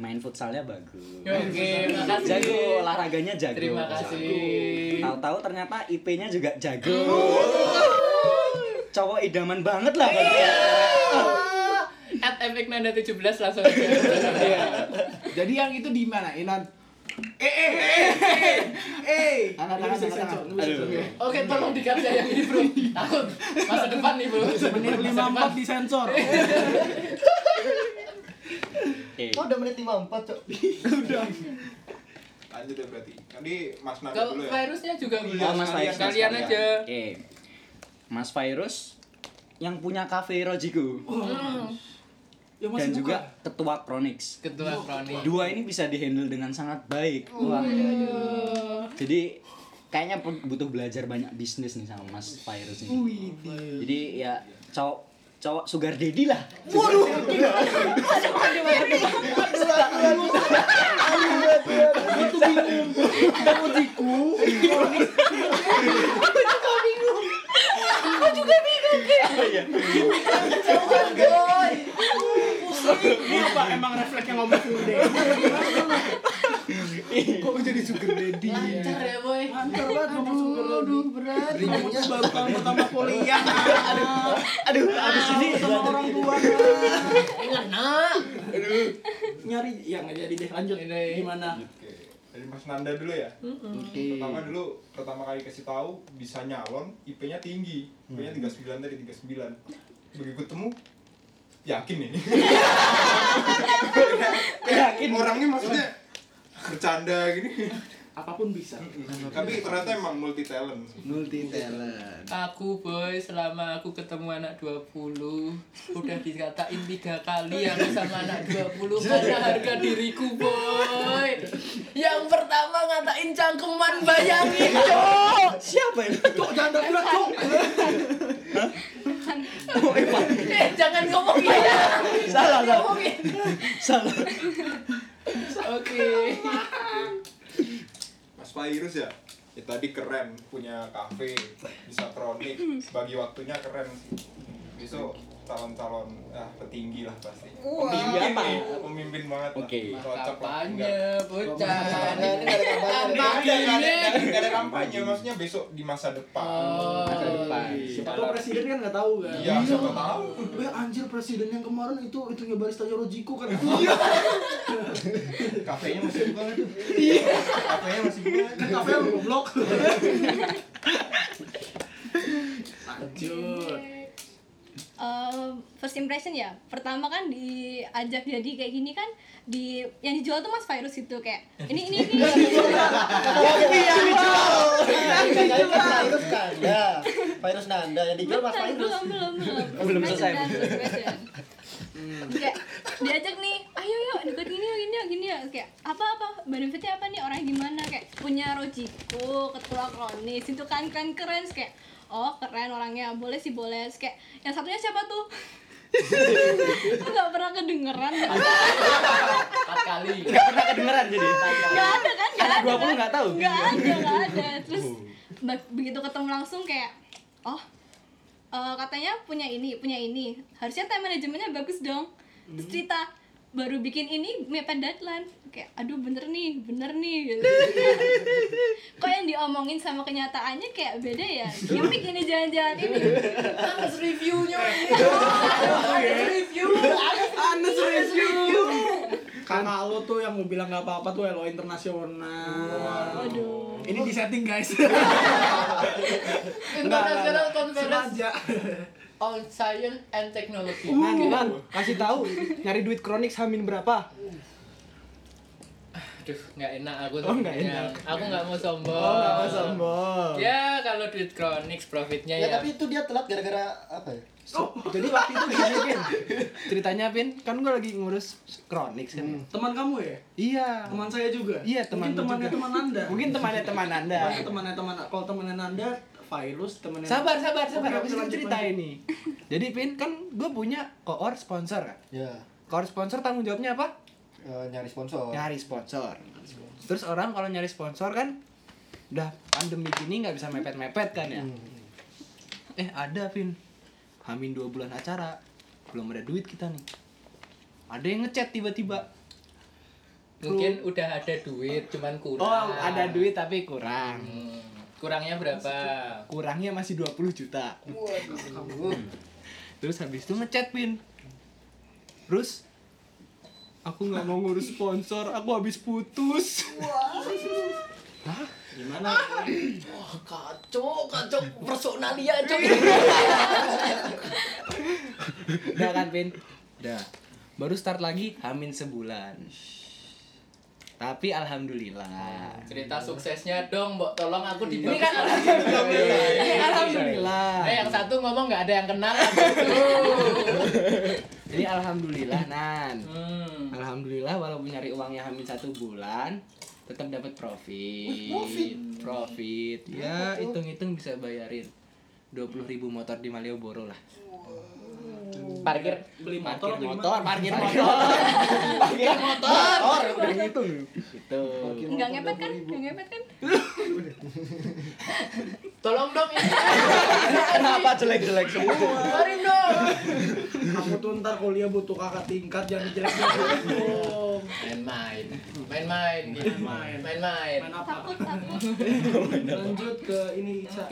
S9: Main futsalnya bagus.
S5: Oke, makasih.
S9: Jago olahraganya jago.
S5: Terima kasih.
S9: Tahu-tahu ternyata IP-nya juga jago.
S1: Hmm.
S9: Cowok idaman banget lah bagi
S1: Iya.
S9: dia.
S5: At Epic Nanda 17 langsung aja.
S2: Jadi yang itu di mana? Inan.
S1: Eh, ini bisa
S2: Anak-anak, anak-anak.
S1: sensor, ini bisa
S9: Aduh.
S1: sensor.
S5: Oke, tolong dikat saya yang ini, Bro. Takut masa depan nih, Bro.
S1: Menit
S5: Masa
S1: 54 disensor.
S9: Oke.
S6: Oh, udah menit 54, Cok.
S4: Lanjut ya berarti. Tadi Mas Nanda
S5: Kalau
S4: dulu ya.
S5: virusnya
S2: Iya,
S5: juga Bro.
S9: Oh, Mas Virus, Mas
S5: Kalian
S9: Virus.
S5: aja.
S9: Oke. Mas Virus yang punya kafe Rojiku
S1: Ya, Oh, masih
S9: dan
S1: buka.
S9: juga ketua Chronix.
S5: Ketua Kroni.
S9: Dua ini bisa dihandle dengan sangat baik. Wah. Jadi kayaknya pe- butuh belajar banyak bisnis nih sama Mas Virus ini. Jadi ya cowok cowok sugar daddy lah.
S1: Aku tuh bingung. Kamu diku. Ini apa emang refleksnya ngomong full
S6: Kok jadi sugar daddy?
S5: Lancar ya, Boy.
S1: Lancar banget ngomong sugar daddy.
S6: Aduh, berat.
S1: Kamu baru kamu pertama kuliah.
S9: Aduh, abis ini
S1: Ini sama orang tua.
S5: Ingat, nak.
S1: Nyari ya nggak jadi deh lanjut. Gimana?
S4: Oke. Dari Mas Nanda dulu ya. Pertama dulu pertama kali kasih tahu bisa nyalon, IP-nya tinggi. IP-nya 39 tadi 39. Begitu ketemu yakin ini.
S9: Yakin.
S4: Orangnya maksudnya bercanda gini.
S1: Apapun bisa.
S4: Tapi ternyata emang multi talent.
S2: Multi talent.
S5: Aku boy selama aku ketemu anak 20 udah dikatain tiga kali aku sama anak 20 karena harga diriku boy. Yang pertama ngatain cangkeman bayangin
S1: Oh.
S5: cok.
S9: Siapa ini?
S1: Cuk, jangan ada ulat, cuk.
S5: Eh jangan ngomong ya.
S9: Salah, salah.
S5: Ngomongin.
S9: Salah.
S5: Oke.
S4: Mas Virus ya. Ya tadi keren punya kafe, bisa kronik, bagi waktunya keren sih. Besok calon-calon ah petinggi lah pasti. Pemimpin
S9: apa?
S4: nih, pemimpin banget. lah.
S9: Oke.
S4: Cocok lah. Enggak.
S5: Kampanye bocah.
S4: Enggak,
S5: Tanpa
S4: enggak, enggak ada-
S5: gimmick.
S4: enggak ada kampanye, maksudnya besok di masa depan.
S5: Oh. Masa
S9: depan.
S1: Siapa tahu presiden kan nggak tahu kan.
S4: Iya, siapa tahu.
S1: Eh anjir presiden yang kemarin itu itunya barista Yorojiko *laughs* kan.
S4: Kafenya masih buka kan? Kafenya masih buka.
S1: Kafe blok. Lanjut.
S8: Eh, first impression ya pertama kan diajak jadi kayak gini kan di yang dijual tuh mas virus itu kayak ini ini ini
S6: Virus Nanda. Virus kan? Ya, Nanda yang dijual Mas
S8: Bukan,
S6: Virus.
S8: belum belum
S9: *laughs*
S8: belum
S9: Oh, Belum
S8: First
S9: selesai. Hmm.
S8: impression, first impression. kayak diajak nih ayo yuk deket gini yuk gini yuk gini yuk kayak apa apa benefitnya apa nih orang gimana kayak punya rojiko ketua kronis itu kan keren keren Terus kayak oh keren orangnya boleh sih boleh Terus kayak yang satunya siapa tuh *laughs* Aku nggak pernah kedengeran
S5: Empat kali.
S9: Enggak pernah kedengeran jadi.
S8: nggak ada kan nggak
S9: Anak
S8: ada
S9: 20
S8: kan?
S9: nggak tahu. Oh.
S8: nggak ada nggak ada terus ba- begitu ketemu langsung kayak oh eh, katanya punya ini punya ini harusnya time manajemennya bagus dong terus cerita baru bikin ini mepet deadline kayak aduh bener nih bener nih gitu. kok yang diomongin sama kenyataannya kayak beda ya gimmick ini jangan-jangan ini
S5: Anes reviewnya ini. Anes review.
S1: Anes review. Karena lo tuh yang mau bilang nggak apa-apa tuh elo internasional. Gitu.
S8: Waduh.
S1: Ini di setting guys.
S5: International Conference
S1: Sengaja.
S5: on Science and Technology.
S2: Nan, Nan, kasih tahu nyari duit kronik hamin berapa?
S5: Aduh, nggak enak aku
S2: Oh, nggak
S5: sebenarnya.
S2: enak.
S5: Aku nggak mau sombong.
S2: sombong.
S5: Ya, kalau duit kronik profitnya
S6: Ya,
S5: ya.
S6: tapi itu dia telat gara-gara apa ya?
S2: Jadi waktu itu gini, Pin. Ceritanya, Pin, *laughs* kan gue lagi ngurus kronik kan.
S1: Teman kamu ya?
S2: Iya.
S1: Teman saya juga.
S2: Iya, teman
S1: Mungkin
S2: lu
S1: temannya
S2: juga. Iya.
S1: teman Anda.
S2: Mungkin temannya teman Anda.
S1: Temannya temannya teman kalau temannya Anda virus temannya
S2: Sabar, sabar, sabar.
S1: Oke, oke,
S2: Habis itu
S1: lanjut,
S2: cerita
S1: lanjut.
S2: ini. Jadi, Pin, kan gue punya koor sponsor kan.
S6: Ya,
S2: Koor sponsor tanggung jawabnya apa?
S6: eh, nyari
S5: Oh.
S6: sponsor.
S2: nyari sponsor. Terus orang kalau nyari sponsor kan udah pandemi gini nggak bisa mepet-mepet kan ya.
S5: Hmm.
S2: Eh ada Vin, hamin dua bulan acara belum ada duit kita nih. Ada yang ngechat tiba-tiba.
S5: Mungkin udah ada duit, cuman kurang.
S2: Oh ada duit tapi kurang.
S5: Hmm, Kurangnya berapa?
S2: Kurangnya masih 20 juta. Terus habis itu ngechat Vin. Terus aku nggak mau ngurus sponsor, aku habis putus.
S1: Gimana?
S5: Wah, kacau, kacau personalia, cok.
S2: Udah kan Pin? Udah Baru start lagi Hamin sebulan Tapi Alhamdulillah
S5: Cerita suksesnya dong, Mbok. Tolong aku di Iya,
S2: Ini kan Alhamdulillah Ini Alhamdulillah
S5: Eh, yang satu ngomong nggak ada yang kenal. aduh.
S2: Ini Alhamdulillah Nan
S5: Hmm.
S2: Alhamdulillah walaupun nyari uangnya Hamin satu bulan tetap dapat profit. Profit. Ya, hitung-hitung bisa bayarin 20.000 ribu motor di Malioboro lah.
S5: Parkir.
S1: Beli motor
S2: Parkir
S1: atau
S2: motor,
S1: gimana?
S2: parkir motor. parkir motor.
S6: udah gitu.
S2: Gitu.
S8: nggak ngepet kan nggak ngepet kan
S5: Tolong dong ini.
S9: Kenapa jelek-jelek semua?
S5: Keluarin dong.
S1: Aku tuh ntar kuliah butuh kakak tingkat yang
S2: *laughs*
S1: jelek-jelek. dong.
S5: Main-main. Main-main.
S1: Main-main.
S5: Main-main.
S1: Main
S7: takut
S1: apa?
S7: takut
S1: Lanjut ke ini Ica.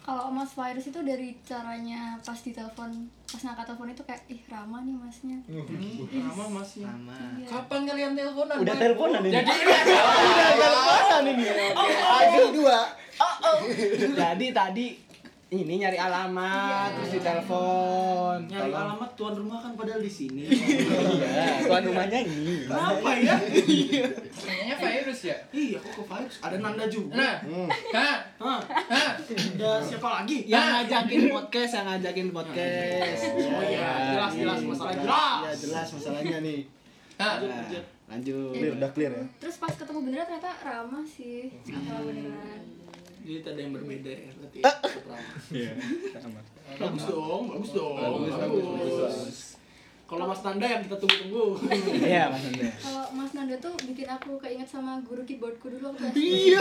S7: kalau mas virus itu dari caranya pas ditelepon pas ngangkat telepon itu kayak ih ramah nih masnya
S1: Nama masnya.
S2: Sama.
S7: Iya.
S5: Kapan kalian teleponan?
S9: Udah
S5: Boy?
S9: teleponan ini.
S5: Jadi ini ada-
S6: Ada dua.
S2: Jadi tadi ini nyari alamat terus ditelepon.
S1: Nyari
S2: Tolong.
S1: alamat tuan rumah kan padahal di
S2: *laughs*
S1: sini.
S9: Iya, tuan rumahnya ini.
S1: Kenapa ya?
S5: kayaknya virus ya.
S1: Iya, kok ke virus? Ada Nanda juga.
S5: Nah, nah,
S1: Hah?
S5: nah.
S1: Ada siapa lagi?
S2: Yang ngajakin podcast, yang ngajakin podcast.
S1: Oh iya, jelas jelas masalah
S6: Ya
S1: jelas.
S6: jelas masalahnya nih.
S5: nah.
S2: Nah, lanjut.
S6: Clear, udah clear ya.
S7: terus pas ketemu beneran ternyata ramah sih kalau beneran
S1: Jadi tak ada yang berbeda ya berarti.
S9: Iya. Sama.
S1: Bagus dong, bagus dong.
S5: Bagus, bagus, bagus.
S1: Kalau Mas Nanda yang kita tunggu-tunggu.
S9: Iya, Mas Andre.
S7: kalau mas Nanda tuh bikin aku keinget sama guru keyboardku dulu waktu SD.
S2: Iya.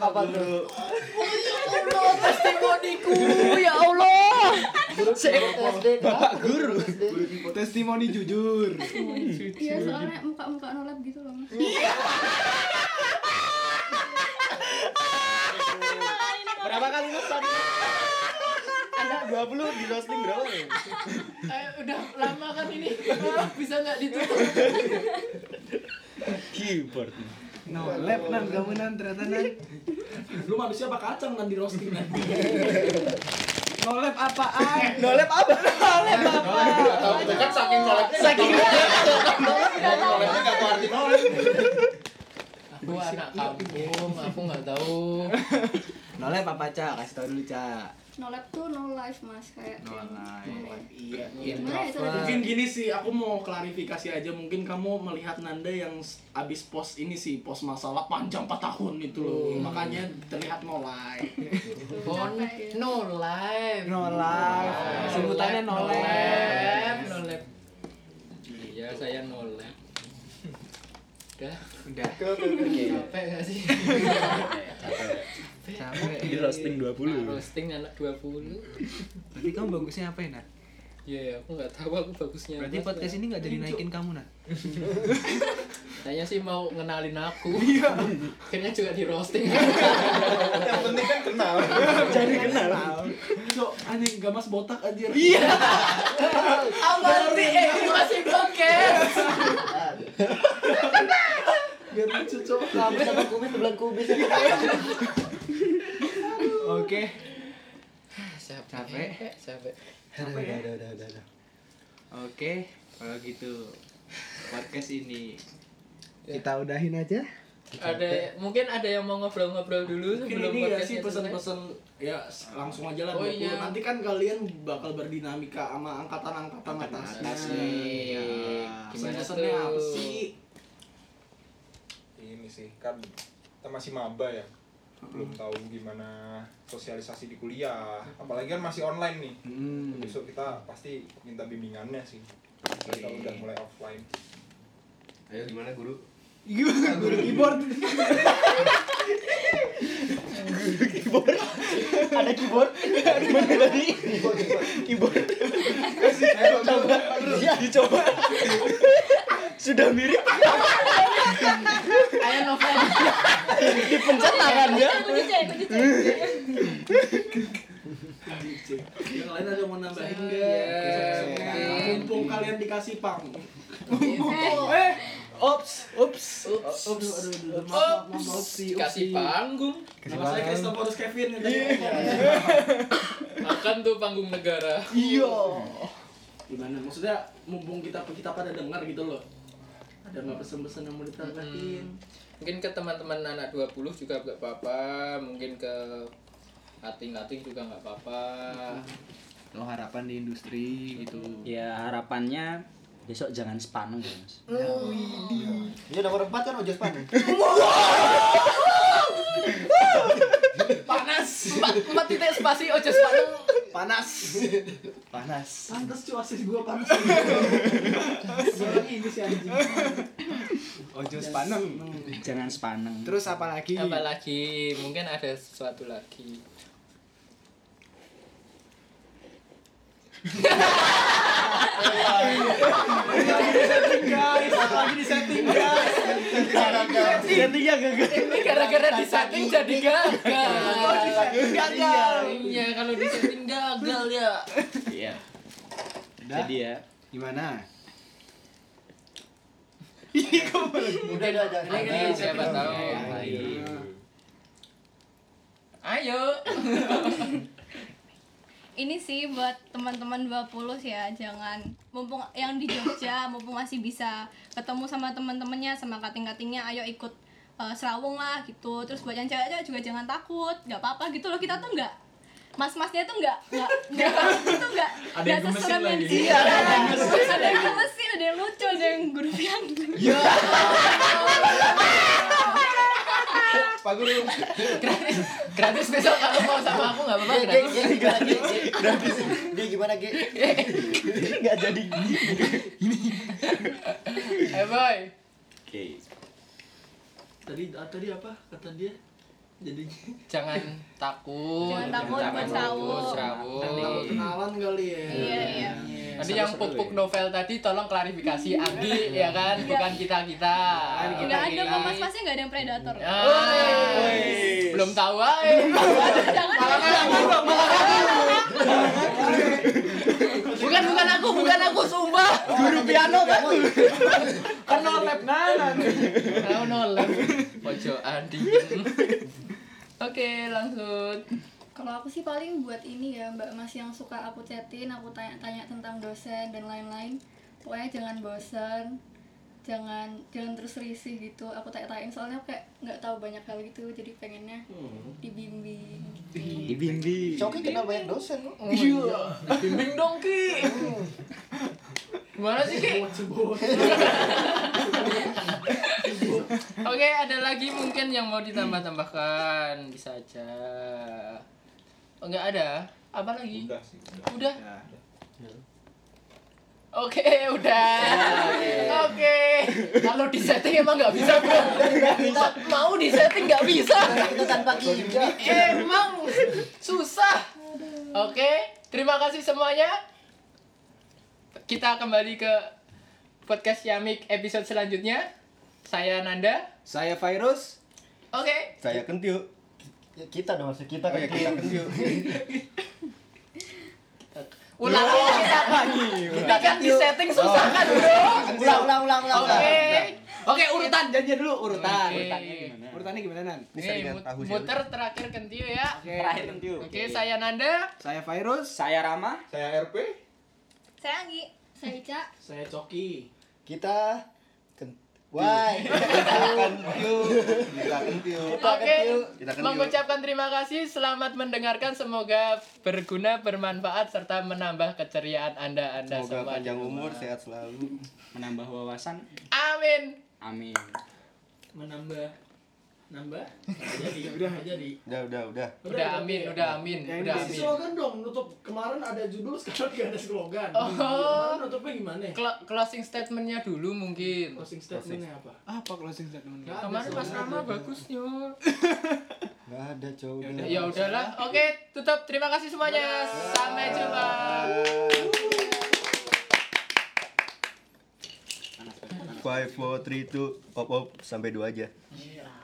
S6: Apa tuh?
S5: Allah, testimoniku.
S2: ya Allah.
S6: Bapak guru.
S2: Testimoni jujur.
S7: iya soalnya muka-muka nolap gitu loh mas
S9: Berapa kali nonton? Anak 20 di roasting berapa nih?
S5: Eh, udah lama kan ini. Bisa nggak ditutup?
S9: Keyboard.
S2: No lab nan kamu nan ternyata nan.
S1: *laughs* Lu manusia apa kacang nanti roasting nanti.
S2: No lab apaan?
S9: Nolep apa?
S4: Tahu kan saking nolaknya saking nolaknya
S1: Iya,
S4: nggak tahu arti nolak.
S5: Aku anak kampung, aku nggak tahu.
S2: No lab apa Ca? Kasih tau dulu Ca.
S7: nolap tuh no life mas kayak
S2: No lab.
S1: Iya.
S7: Gimana ya caranya?
S1: Mungkin gini sih, aku mau klarifikasi aja. Mungkin kamu melihat Nanda yang s- abis pos ini sih, pos masalah panjang 4 tahun itu loh. Makanya terlihat mulai.
S7: gitu,
S5: Bon,
S7: capek ya.
S5: no life.
S2: No lab. Sebutannya no lab.
S5: lab. No lab. Iya, saya no lab. Udah,
S2: Udah.
S5: capek gak sih?
S2: Capek.
S9: Di roasting
S5: Nah,
S9: 20.
S5: roasting anak 20.
S2: Berarti kamu bagusnya apa ya, Nan?
S5: Iya, aku nggak tahu aku bagusnya.
S2: Berarti
S5: apa
S2: podcast
S5: sekarang.
S2: ini nggak jadi naikin kamu nah.
S5: Kayaknya sih mau ngenalin aku. Akhirnya juga di roasting.
S4: yang penting kan kenal
S9: Jadi kenal.
S1: Cok, anjing gamas botak anjir. Iya.
S5: Berarti eh ini masih podcast.
S1: Biar lucu, Cok.
S6: Kubis sama kubis sebelah kubis.
S2: Oke.
S5: Capek. eh, Capek.
S6: Udah, udah, udah, udah, udah, udah.
S2: Oke, kalau gitu podcast ini kita udahin aja.
S5: Ada mungkin ada yang mau ngobrol-ngobrol dulu
S1: Mungkin
S5: sebelum
S1: ini ya sih
S5: podcastnya selesai?
S1: pesan-pesan ya s- langsung aja lah
S5: Oh,
S1: 20.
S5: iya.
S1: Nanti kan kalian bakal berdinamika sama angkatan-angkatan atasnya.
S2: Iya.
S5: Gimana
S1: Pesan-pesannya
S5: tuh?
S1: apa sih?
S4: ini sih kan kita masih maba ya belum tahu gimana sosialisasi di kuliah apalagi kan masih online nih
S2: Hmm.
S4: besok kita pasti minta bimbingannya sih kita udah mulai offline
S10: Ayo gimana guru?
S1: Guru keyboard.
S9: Ada keyboard. Gimana tadi? Keyboard. Coba. Iya, dicoba. Sudah mirip.
S5: Kayak novel.
S9: Dipencet tangannya.
S8: kunci cek, kunci cek.
S1: Yang lain ada yang mau nambahin
S5: Iya,
S1: enggak?
S5: mungkin.
S1: Mumpung kalian dikasih pang.
S8: Eh,
S1: Ops, ops. Ops. Aduh, aduh, aduh. Maaf, maaf, maaf, opsi,
S5: Kasih
S1: opsi.
S5: panggung.
S1: Nama saya Christophorus Kevin yang tadi ngomong.
S5: Makan tuh panggung negara.
S1: Iya. Gimana? Maksudnya mumpung kita kita pada dengar gitu loh. Ada nggak pesan-pesan yang mau ditambahin?
S5: Mungkin ke teman-teman anak 20 juga nggak apa-apa, mungkin ke ating-ating juga nggak apa-apa.
S2: Lo harapan di industri gitu.
S9: Ya, harapannya besok jangan sepaneng ya, Mas.
S6: Ini udah nomor empat kan ojek panen.
S5: Panas. Empat, empat titik spasi ojo sepaneng.
S2: Panas.
S1: Pantes cuy asis gua panas.
S5: *laughs*
S1: Orang Inggris ya anjing.
S2: Ojo sepaneng.
S9: Jangan sepaneng.
S2: Oh, Terus apa lagi?
S5: Apa lagi? Mungkin ada sesuatu lagi.
S1: Guys, lagi di setting guys.
S9: Gantinya gagal.
S5: Ini gara-gara di setting jadi gagal.
S1: Gagal.
S5: Iya, kalau di setting gagal ya.
S9: Iya.
S2: Udah?
S9: Jadi ya,
S2: Gimana?
S6: Udah, udah, udah.
S5: Ini kan siapa tahu. Ayo.
S8: Ini sih buat teman-teman 20 ya, jangan mumpung yang di *coughs* Jogja mumpung masih bisa ketemu sama teman-temannya sama kating-katingnya, ayo ikut eh, serawung lah gitu. Terus buat yang cewek-cewek juga jangan takut, nggak apa-apa gitu loh kita tuh nggak Mas-masnya tuh nggak nggak nggak itu nggak
S5: Ada
S8: nggak
S5: yang gemesin
S8: seserem yang
S5: lagi.
S8: Iya, ada yang gemesin, Iya. ada yang gemesin, ada yang lucu, ada yang gurupiang.
S6: Pak Guru.
S5: Gratis, gratis besok kalau mau sama aku nggak apa-apa.
S6: Ge, ge,
S5: gratis.
S6: ge, gimana, Ge? Ge, gimana,
S9: *laughs*
S6: Ge?
S9: nggak jadi.
S5: Eh boy.
S9: Oke.
S1: Tadi ah, tadi apa kata dia? Jadi
S5: Jangan takut.
S8: Jangan takut,
S5: Jangan
S8: bersawung.
S5: serawung.
S1: takut kenalan kali ya.
S8: Iya, iya.
S5: Tadi yang pupuk novel tadi tolong klarifikasi Andi ya kan, bukan kita-kita.
S8: Hmm. Iya. Nggak ada
S5: Iya.
S8: kok mas-masnya nggak ada yang predator.
S5: Ah, Belum tahu aja.
S8: Jangan
S5: Bukan bukan aku, bukan aku sumpah.
S9: Guru piano kan?
S5: Kan nolep nanan. Kau nolep. Pojokan dingin. Oke, langsung.
S7: Kalau aku sih paling buat ini ya Mbak Mas yang suka aku chatin, aku tanya-tanya tentang dosen dan lain-lain. Pokoknya jangan bosan, jangan jangan terus risih gitu. Aku tanya-tanyain soalnya aku kayak nggak tahu banyak hal gitu, jadi pengennya dibimbing.
S8: Iya.
S7: Gitu.
S9: Dibimbing.
S6: Coki kenal banyak dosen.
S5: Iya. Bimbing dong, Ki. Gimana sih,
S1: Iya.
S5: Ki?
S1: Coba.
S5: Oke, ada lagi mungkin yang mau ditambah-tambahkan. Bisa aja. Oh, enggak ada. Apa lagi?
S4: udah sih udah Ya,
S5: Udah. Oke, udah.
S4: Ya,
S5: Oke. Kalau di setting emang nggak bisa, Bro. Mau di setting nggak bisa.
S6: Itu tanpa kita.
S5: Emang susah. Oke, terima kasih semuanya. kita kembali ke podcast Yamik episode selanjutnya. Saya Nanda.
S2: Saya Virus.
S5: Oke.
S9: Saya kentiu.
S6: Kita dong, harusnya kita kan.
S9: ya, kita kentiu.
S5: Ulang kita lagi. Kita kan di setting susah kan, Bro.
S6: Ulang, ulang, ulang, ulang.
S5: Oke. Oke, urutan janjian dulu urutan.
S2: Urutan,
S5: Urutannya gimana?
S2: Urutannya gimana Nan?
S5: Nih, mut- muter terakhir kentiu ya.
S9: Terakhir kentiu.
S5: Oke, saya Nanda.
S2: Saya Virus.
S9: Saya Rama.
S4: Saya RP.
S8: Saya Anggi.
S7: Saya Ica.
S1: Saya Coki.
S6: Kita ken- Why?
S10: Kita kentil.
S6: Kita
S5: Oke.
S6: kentiu.
S10: Kita
S9: kan
S10: kentil.
S5: Mengucapkan terima kasih, selamat mendengarkan, semoga berguna, bermanfaat, serta menambah keceriaan Anda Anda
S6: Semoga
S5: semua.
S6: panjang umur, sehat selalu.
S9: Menambah wawasan.
S5: Amin.
S9: Amin.
S1: Menambah. Nambah. Nggak Jadi. nggak Jadi.
S10: Udah, udah, udah.
S5: Udah amin, udah amin,
S2: Yang
S5: udah
S2: ini
S1: Kasih
S5: amin.
S1: slogan dong, nutup kemarin ada judul *laughs* sekarang gak ada slogan.
S5: Oh.
S1: Kemarin nutupnya gimana? ya?
S5: Clo- closing statementnya dulu mungkin.
S1: Closing statementnya apa?
S2: Apa closing statement?
S1: Nggak ada
S5: Kemarin pas
S1: slogan.
S5: Rama bagusnya.
S6: Gak ada cowok.
S5: Ya udahlah, oke tutup. Terima kasih semuanya. Sampai jumpa.
S10: Five, four, three, two, op, op, sampai dua aja.
S1: Iya.